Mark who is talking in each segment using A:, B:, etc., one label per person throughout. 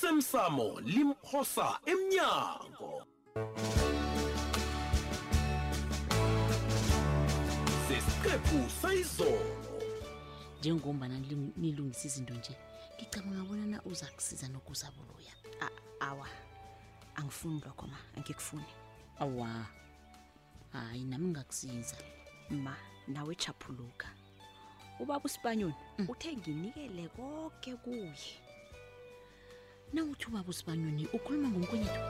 A: osemsamo limphosa emnyango sesiqephu sayizolo
B: njengombana nilu- nilungisa izinto nje ngicabanga bonana uza kusiza nokuzabuluya
C: A- awa angifuni lokho ma angikufuni
B: awa hayi nami ngakusiza
C: ma nawe chaphuluka ubaba usipanyoni
D: Mm.
C: uthe nginikele konke kuye
B: nawuthi ubaba usibanyoni ukhuluma ngomkhwenyethu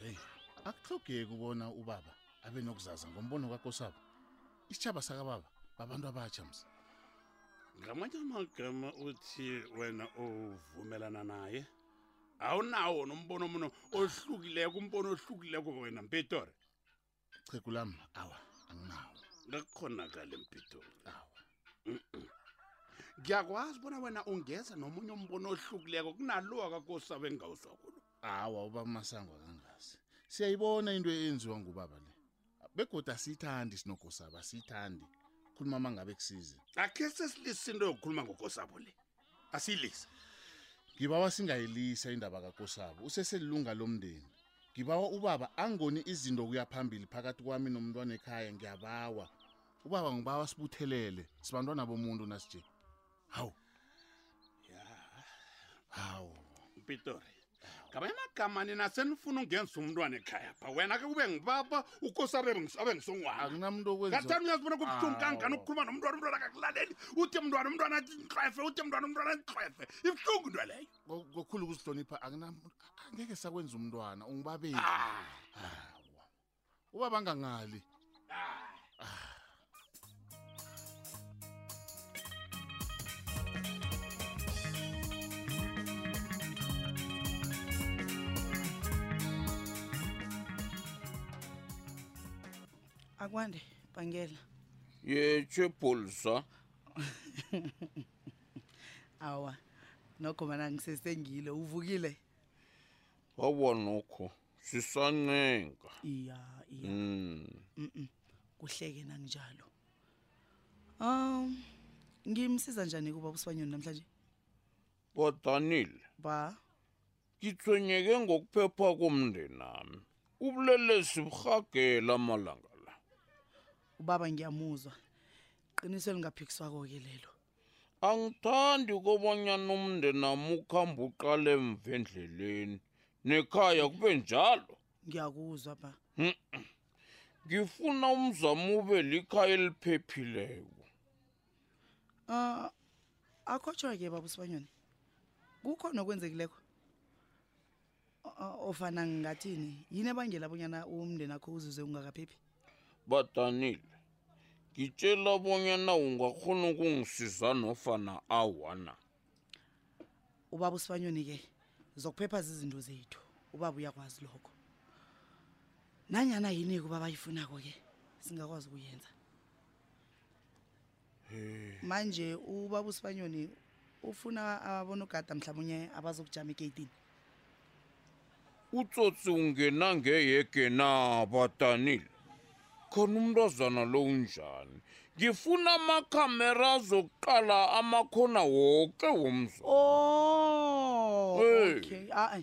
E: heyi akuhlogeki ubona ubaba abe nokuzaza ngombono kakho sabo isitshaba sakababa babantu abatsha msa
F: ngamanye amagama uthi wena uvumelana naye awunawo nombono mno ohlukileko umbono ohlukileko wena mpitori
E: chegu lami awa anginawo
F: ngakukhonakale mpitori
E: awa
F: ngiyakwazi bona wena ungeza nomunye umbono ohlukileko kunalowa kakosabe engawuzwa kulo
E: awa ubaba masango akangazi siyayibona into eyenziwa ngubaba le begoda asiyithandi sinogosaba asiyithandi khuluma uma ngabe kusize
F: akhe sesilisa into yokukhuluma ngokosabo le asiyilisa
E: ngibawa singayilisa indaba kakosabo useselilunga lomndeni ngibawa ubaba angoni izinto kuya phambili phakathi kwami nomntwana ekhaya ngiyabawa ubaba ngibawa sibuthelele sibantwana bomuntu nasije hawu hawu
F: mpitori ngamanye amagama nina senifuna ungenza umntwana ekhaya pha wena ke kube ngibaba ukosi abe ngis- abe ngisongwana
E: akunamuntu okwenza
F: ngathani uyazibona kubuhlungu kangani
E: Awa.
F: ukukhuluma nomntwana umntwana akakulaleli uthi mntwana umntwana athi ntlwefe uthi mntwana umntwana ntlwefe ibuhlungu into leyo
E: Ngo- ngokhulu ukuzihlonipha akunamuntu angeke sakwenza umntwana ungibabeli
F: Ah,
E: hawa ubaba angangali
G: akwande bhangela
H: yetshe polisa
G: awa nokho mana ngisesengile uvukile
H: wawa nokho sisanenga
G: iya iya
H: Mm.
G: kuhleke nanginjalo um ngimsiza njani kuba busibanyoni namhlanje
H: bwadanile
G: ba
H: ngithwenyeke ngokuphepha komndenami ubulelesi burhagela amalanga la
G: ubaba ngiyamuzwa qiniso elingaphikiswako-ke lelo
H: angithandi kobanyana umndenami ukuhamba uqale emva endleleni nekhaya kube njalo Hmm,
G: ngiyakuzwa ba
H: ngifuna umzamo ube likhaya eliphephileko
G: um akhotshwa-ke baba usibanyoni kukhona okwenzekileko O- ofana ngingathini yini ebangela abonyana umndeni akho uzuze ungakaphephi
H: badanile ngitshela bonyana ungakhona ukungisiza nofana awana
G: ubaba usifanyoni-ke zokuphepha zizinto zethu ubaba uyakwazi lokho nanyana yini kuba bayifunako-ke singakwazi ukuyenza manje ubaba usifanyoni ufuna abonogada mhlawumunye abazokujama egeyitini
H: utsotsi ungena ngeyege na badanile khona umntazana lo unjani ngifuna amakhamera azokuqala amakhona woke womzo
G: o
H: Hey.
G: Oh, okay a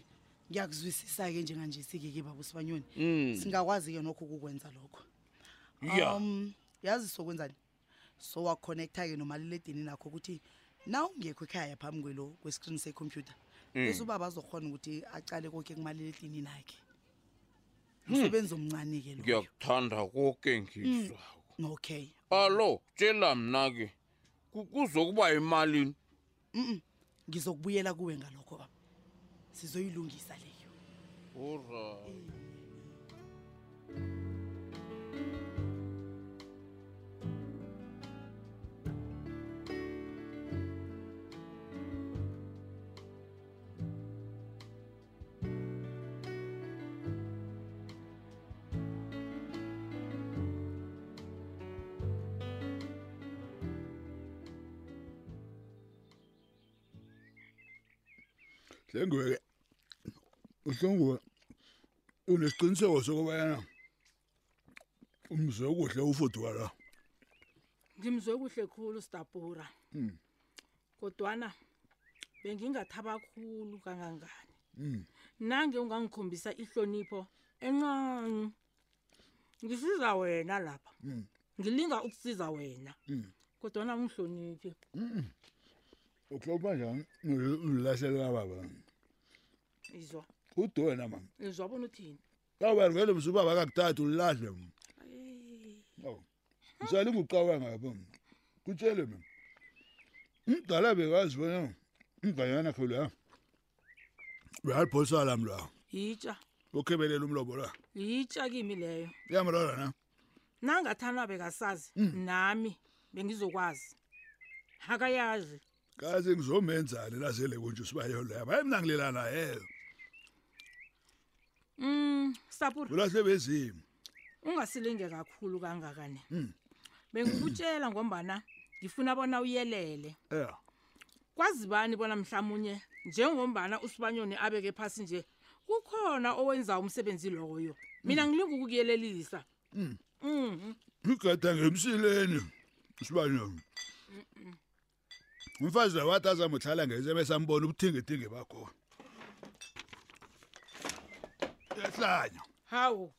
G: ngiyakuzwisisa-ke njenganje sike-ke baba usifanyoni
H: Mm.
G: singakwazi-ke nokho ukukwenza lokho
H: ya
G: um yazi sokwenzani sowakhonektha-ke nomaliledinini nakho ukuthi na ungekho ekhaya phambi kwelo kwesikrini sekhompyutha bese ubaba azokhona ukuthi acale konke kumaliledinini akhe msebenzi omncane-ke lo Mm.
H: ngiyakuthanda koke ngizwako
G: okay
H: alo tshela mna ke ku- kuzokuba emalini
G: ngizokubuyela kuwe ngalokho baba sizoyilungisa leyo
H: ora
I: Hlenguwe uhlonguwe unesiqiniseko sokubayana umzokuhle ufuduka la
J: ngimzwe kuhle khulu stabura kodwana bengingathaba khulu kangangani nange ungangikhombisa ihlonipho encane ngisiza wena lapha ngilinga ukusiza wena kodwana ungihloniphi
I: ukuhlopha njani ulahlelela baba
J: izwa
I: kudu wena ma
J: izwa bona uthini
I: kawena vele busa ubaba kakuthatha ulilahle awu msale ngucabanga apha kutshele mina umdala bekazi bona umganyana kho la bealiphosa lam la
J: yitsha
I: okhebelela umlobo la
J: yitsha kimi leyo
I: iyamlola na
J: nangathanwa bekasazi nami bengizokwazi hakayazi
I: kazi ngizomenzani lazele konje sibayo la hayi mina ngilela nayeyo
J: um sapura
I: ulahle bezimo
J: ungasilinge kakhulu kangakane bengikutshela ngombana ngifuna bona uyelele
I: ya
J: kwazi bani bona mhlawumunye njengombana usibanyoni abeke phasi nje kukhona owenza umsebenzi loyo mina ngilinga ukukuyelelisa Mhm.
I: igada Hmm. ngemsileni sibanyo umfazi la wathi azamuhlala ngeze besambona ubuthingitingi bakhona yahlanya
J: hawu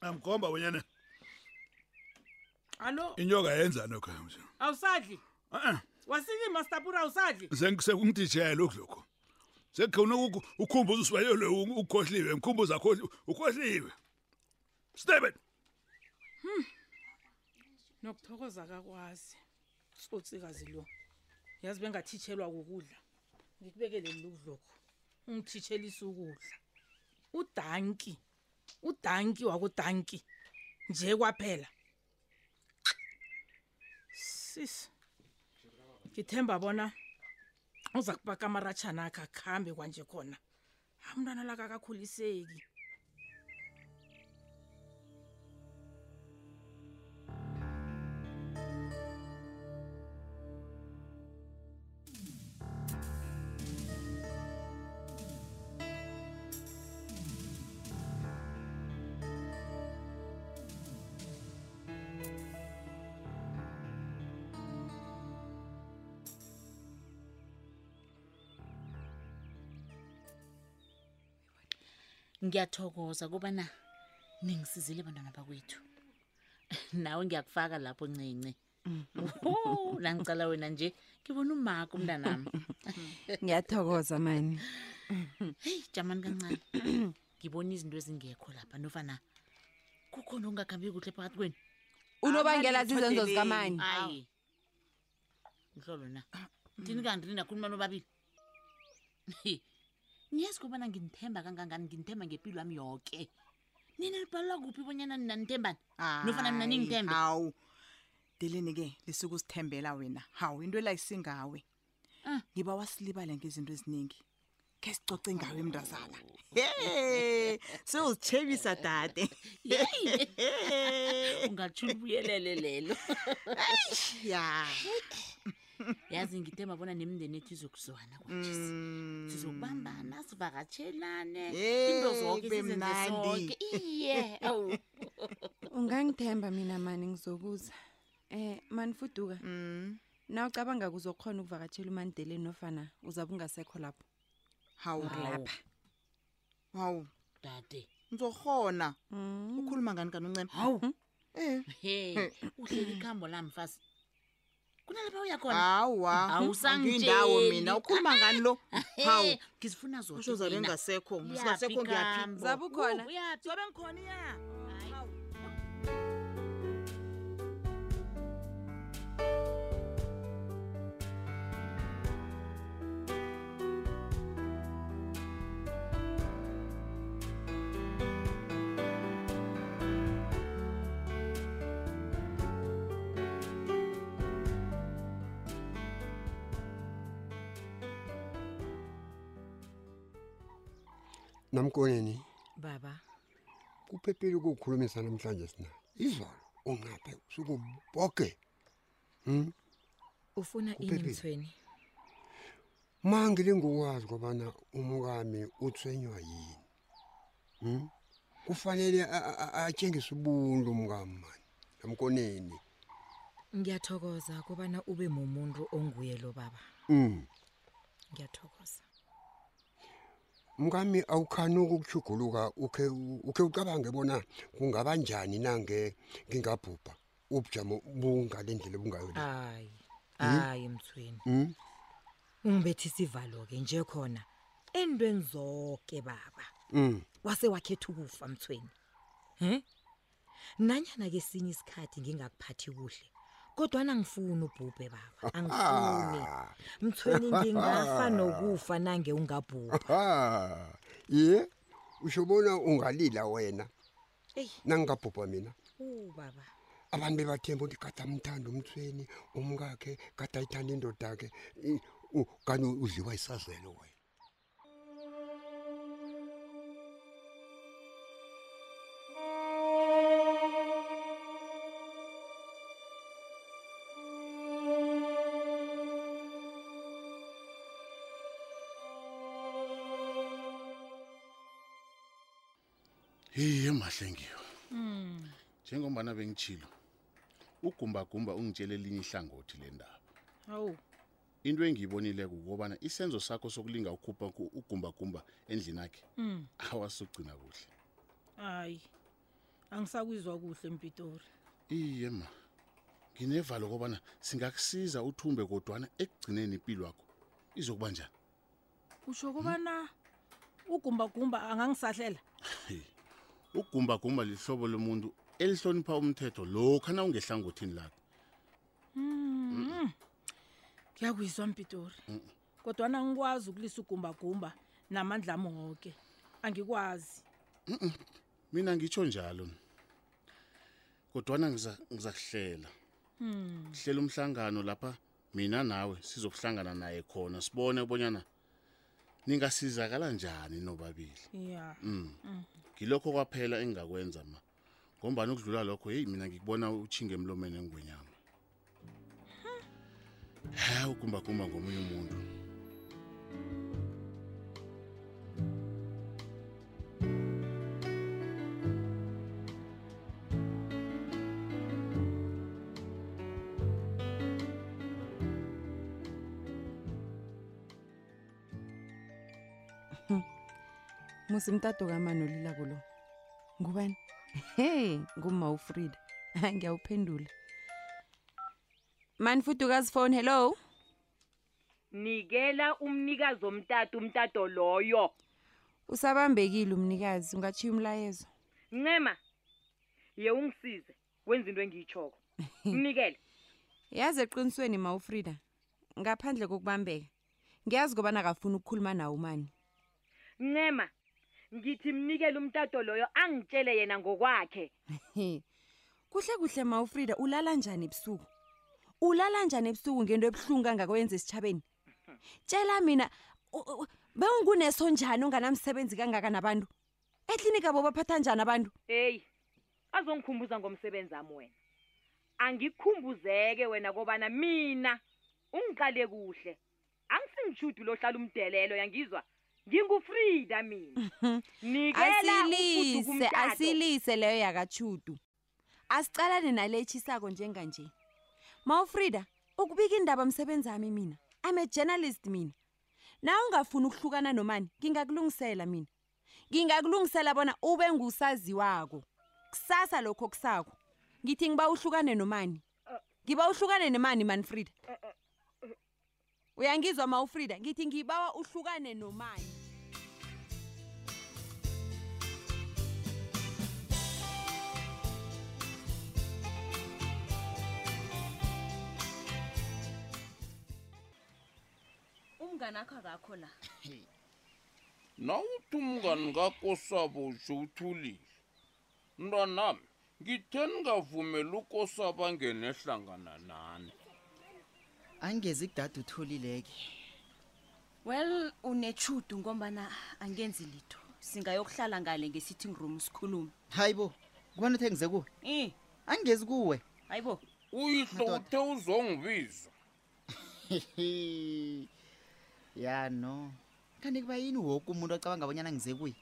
I: amkhomba bonyana
J: alo
I: inyoka yenza nokho manje
J: awusadli
I: a
J: wasilima stapura awusadli
I: sengumtijela okudlokho sekukhona ukukhumbuza usibayelo ukhohliwe ngikhumbuza khona ukhohliwe Steben
J: nokuthokoza kakwazi sotsikazi lo yazi bengathitshelwa kukudla ngikubekele lokudlokho ungithitshelisa ukudla udanki udanki wakudanki nje kwaphela sis ngithemba bona uza kupaka amaratshana akhe akuhambe kwanje khona amntwana lakakakhuliseki
B: ngiyathokoza kubana ningisizile bantwana bakwethu nawe ngiyakufaka lapho ncinci
C: Mm-hmm.
B: Wo, nangicala wena nje ngibona umaka umntanami
C: ngiyathokoza mani
B: heyi Hmm. jamani kancane ngibona izinto ezingekho lapha nofana kukhona okungakhambi kuhle phakathi kwenu
C: unobangela zizenzo zikamani
B: ayi mhlolo na thini kanti ninakhuluma nobabili He, niyazi kubana nginithemba kangangani nginithemba ngempilo yami yoke nina nibhalelwa kuphi bonyana nina nithembani nofana mina ningithembe
K: hawu deleni-ke lisuke usithembela wena hawu into elayisingawe
B: Ah.
K: ngiba wasilibale ngezinto eziningi khe sicoce ngawe mntazana ye siyozitshebisa dade
B: ungatshula ubuyelele lelo
K: ya
B: yazi ngithemba bona nemindeni ethu izokuzwana kwanjesi
K: Mm.
B: sizokubambana sivakatshelane into
K: Eh,
B: zonke
K: kube
B: sizenze
K: mnandi.
B: sonke iye awu
L: ungangithemba mina mani ngizokuza um mani fuduka
K: Mm.
L: na ucabanga kuzokhona ukuvakatshela umandeleni nofana uzabe ungasekho lapho
K: hawu
B: Hawu,
K: lapha hawu
B: dade
K: ngizokhona
L: Mm.
K: ukhuluma ngani kanoncema
B: hawu
M: Hmm?
K: Eh.
B: he uhleli ikhambo lami fasi kunalapha uyakhona
K: hawa
B: Awusangitjeli.
K: ngindawo mina ukhuluma ngani lo hawu
B: he ngizifuna zonke
K: usho zabe
B: mina.
K: ngasekho
B: Uyaphi
K: ngasekho ngiyaphi
B: ikhambo?
L: Zabe ukhona?
B: Wu, uyaphi?
J: zobe ngikhona iya hawu
N: namkoneni
C: baba
N: kuphephile ukukhulumisa namhlanje sina izolo ungaphe usuku bonke hm
C: ufuna ini
N: Kuphephile.
C: mthweni
N: mangile ngokwazi kobana umukami uthwenywa yini hm kufanele a- a- a- atshengise ubuntu umkami mani namkoneni
O: ngiyathokoza kubana ube mumuntu onguye lo baba
N: Mm.
O: ngiyathokoza
N: Mkami awukhani ukukuchuguluka ukhe ukhe ucabange bona kungaba njani nange ngingabhubha ubujamo bungalendlela bungayo. le.
O: hayi hayi mthweni
N: Mm.
O: ungibethe isivalo-ke nje khona entweni zonke baba
N: Mm.
O: wase wakhetha ukufa mthweni he nanyana ke sinye isikhathi ngingakuphathi kuhle kodwana ngifuni ubhubhe baba angifuni mthweni ngingafa nokufa nange ungabhubha
N: Ha. Ye ushobona ungalila wena
O: eyi
N: nangingabhubha mina.
O: u baba
N: Abantu bebathemba ukuthi kade amthanda umthweni umkakhe kade ayithanda indoda yakhe kanye udliwa isazelo wena.
E: hiye mahle ngiyo
J: Mm.
E: njengombana bengitshilo ugumbagumba ungitshele elinye ihlangothi le ndaba
J: Hawu.
E: into engiyibonileko kukobana isenzo sakho sokulinga ukhupha ku- ugumbagumba endlini akhe
J: Mm.
E: awasugcina kuhle
J: Hayi. Angisakwizwa kuhle empitori.
E: iye ma nginevalo kobana singakusiza uthumbe kodwana ekugcineni impilo yakho izokuba njani
J: Usho kubana ugumbagumba angangisahlela.
E: ugumbagumba lihlobo lomuntu elihlonipha umthetho lokhu na ungehlangothini lakhe
J: Mm. Ngiyakuzwa empitori.
E: Mm.
J: Kodwa na ngikwazi ukulisa ugumbagumba namandla ami wonke. Angikwazi.
E: mina ngitsho njalo kodwana ngiza- ngizakuhlela
J: Mm.
E: hlela umhlangano lapha mina nawe sizokuhlangana naye khona sibone ubonyana ningasizakala njani nobabili
J: Yeah.
E: Mm.
J: Mm.
E: ngilokho kwaphela engingakwenza ma ngombani ukudlula lokho heyi mina ngikubona utshinge emlomeni engwenyama ha ugumbagumba ngomunye umuntu
L: musi mtato kamani olilako lo ngubani he nguma ufrida Hayi, ngiyawuphendula mani fudukazi phone hello
P: Nikela umnikazi omtata umtato loyo.
L: usabambekile umnikazi ungatshiya umlayezo
P: Ncema. Ye ungisize. Wenza into engiyitshoko. Mnikele.
L: yazi eqinisweni ma ufrida ngaphandle kokubambeka ngiyazi kobana akafuni ukukhuluma nawo mani
P: Ncema. Ngithi mnikele umtato loyo angitshele yena ngokwakhe.
L: He. kuhle kuhle ma ufrida ulala njani ebusuku ulala njani ebusuku ngento ebuhlungu kangakwenza esitshabeni tshela mina u- u- bewunguneso njani onganamsebenzi kangaka nabantu eklinika bo baphatha njani abantu
P: Hey. Azongikhumbuza ngomsebenzi wami wena. Angikukhumbuzeke wena kobana mina ungiqale kuhle. Angisingishudu lohlala umdelelo yangizwa. Ngingufrida mina. Nikela ufudu
L: asilise
P: kumtato.
L: asilise leyo yakachudu asicalane naletshisako njenganje mawufrida ukubika indaba msebenzi ami mina i'm a journalist mina nawe ungafuni ukuhlukana nomani ngingakulungisela mina ngingakulungisela bona ube ngusaziwako kusasa lokho kusako ngithi ngiba uhlukane nomani ngiba uhlukane nemani manfrida uyangizwa mawufrida ngithi ngibawa uhlukane nomani
D: umngane akho akakho la
H: nawuthi umngani kakosabo usho uthulile mntwanami ngithe ningavumeli ukosabo angene hlangana nani
M: angezi kudade utholileke
D: well unechudu ngombana angenzi litho singayokuhlala ngale nge-sitting room sikhulume
M: hayi bo kubona uthe ngize kuwe
D: i
M: angezi kuwe
D: hayi bo
H: uyihlo
M: Madoda.
H: uthe uzongibiza
M: ya no kanti kuba yini woke umuntu acabanga abanyana ngize kuye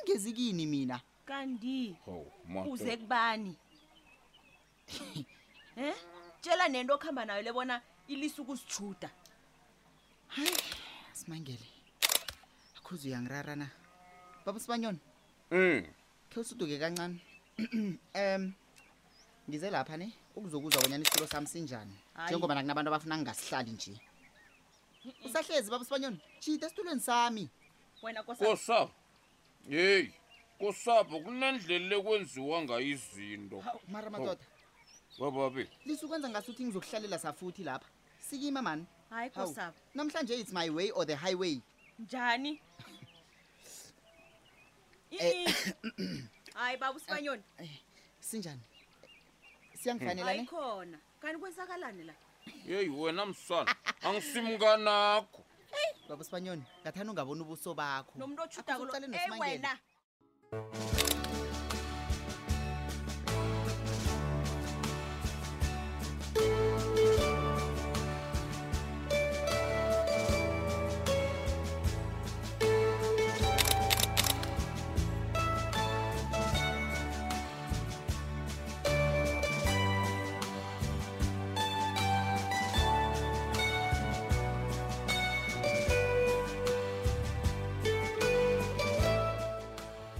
M: angezi kini mina
D: kanti
H: ho
D: uze kubani um tshela nento okuhamba nayo le bona ilisa ukusijuda
M: simangele akhuze uyangirara na baba sibanyoni
H: um
M: khe usuduke kancane um ngize lapha ne ukuzokuzwa bonyana isitulo sami sinjani
D: Hayi.
M: njengoba nakunabantu abafuna ngingasihlali nje usahlezi baba sibanyoni jida esitulweni sami
D: wena kosa
H: kosapho yeyi kosapho kunendlela ekwenziwa ngayo izinto Oh,
M: mara madoda
H: bababe
M: lisukwenza ngasuthi ngizokuhlalela safuthi lapha sikima mani
D: hayi
M: Hawu,
D: kosabo
M: namhlanje it's my way or the highway
D: njani
M: Eh,
D: hayi baba usibanyoni
M: sinjani siyangifanela ne
D: khona kanti kwenzakalani la
H: yeyi wena msana angisimnganakho
M: baba sibanyoni ngathanda ungabona ubuso bakho
D: nomuntu otshudako lo-
M: Akusuqale
D: Eh,
M: noSimangele.
D: wena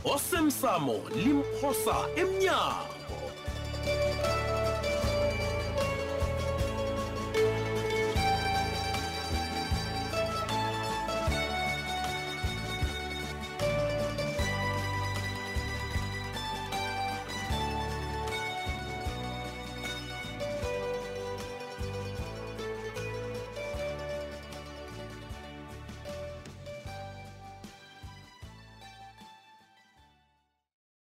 A: osemsamo limphosa emnyango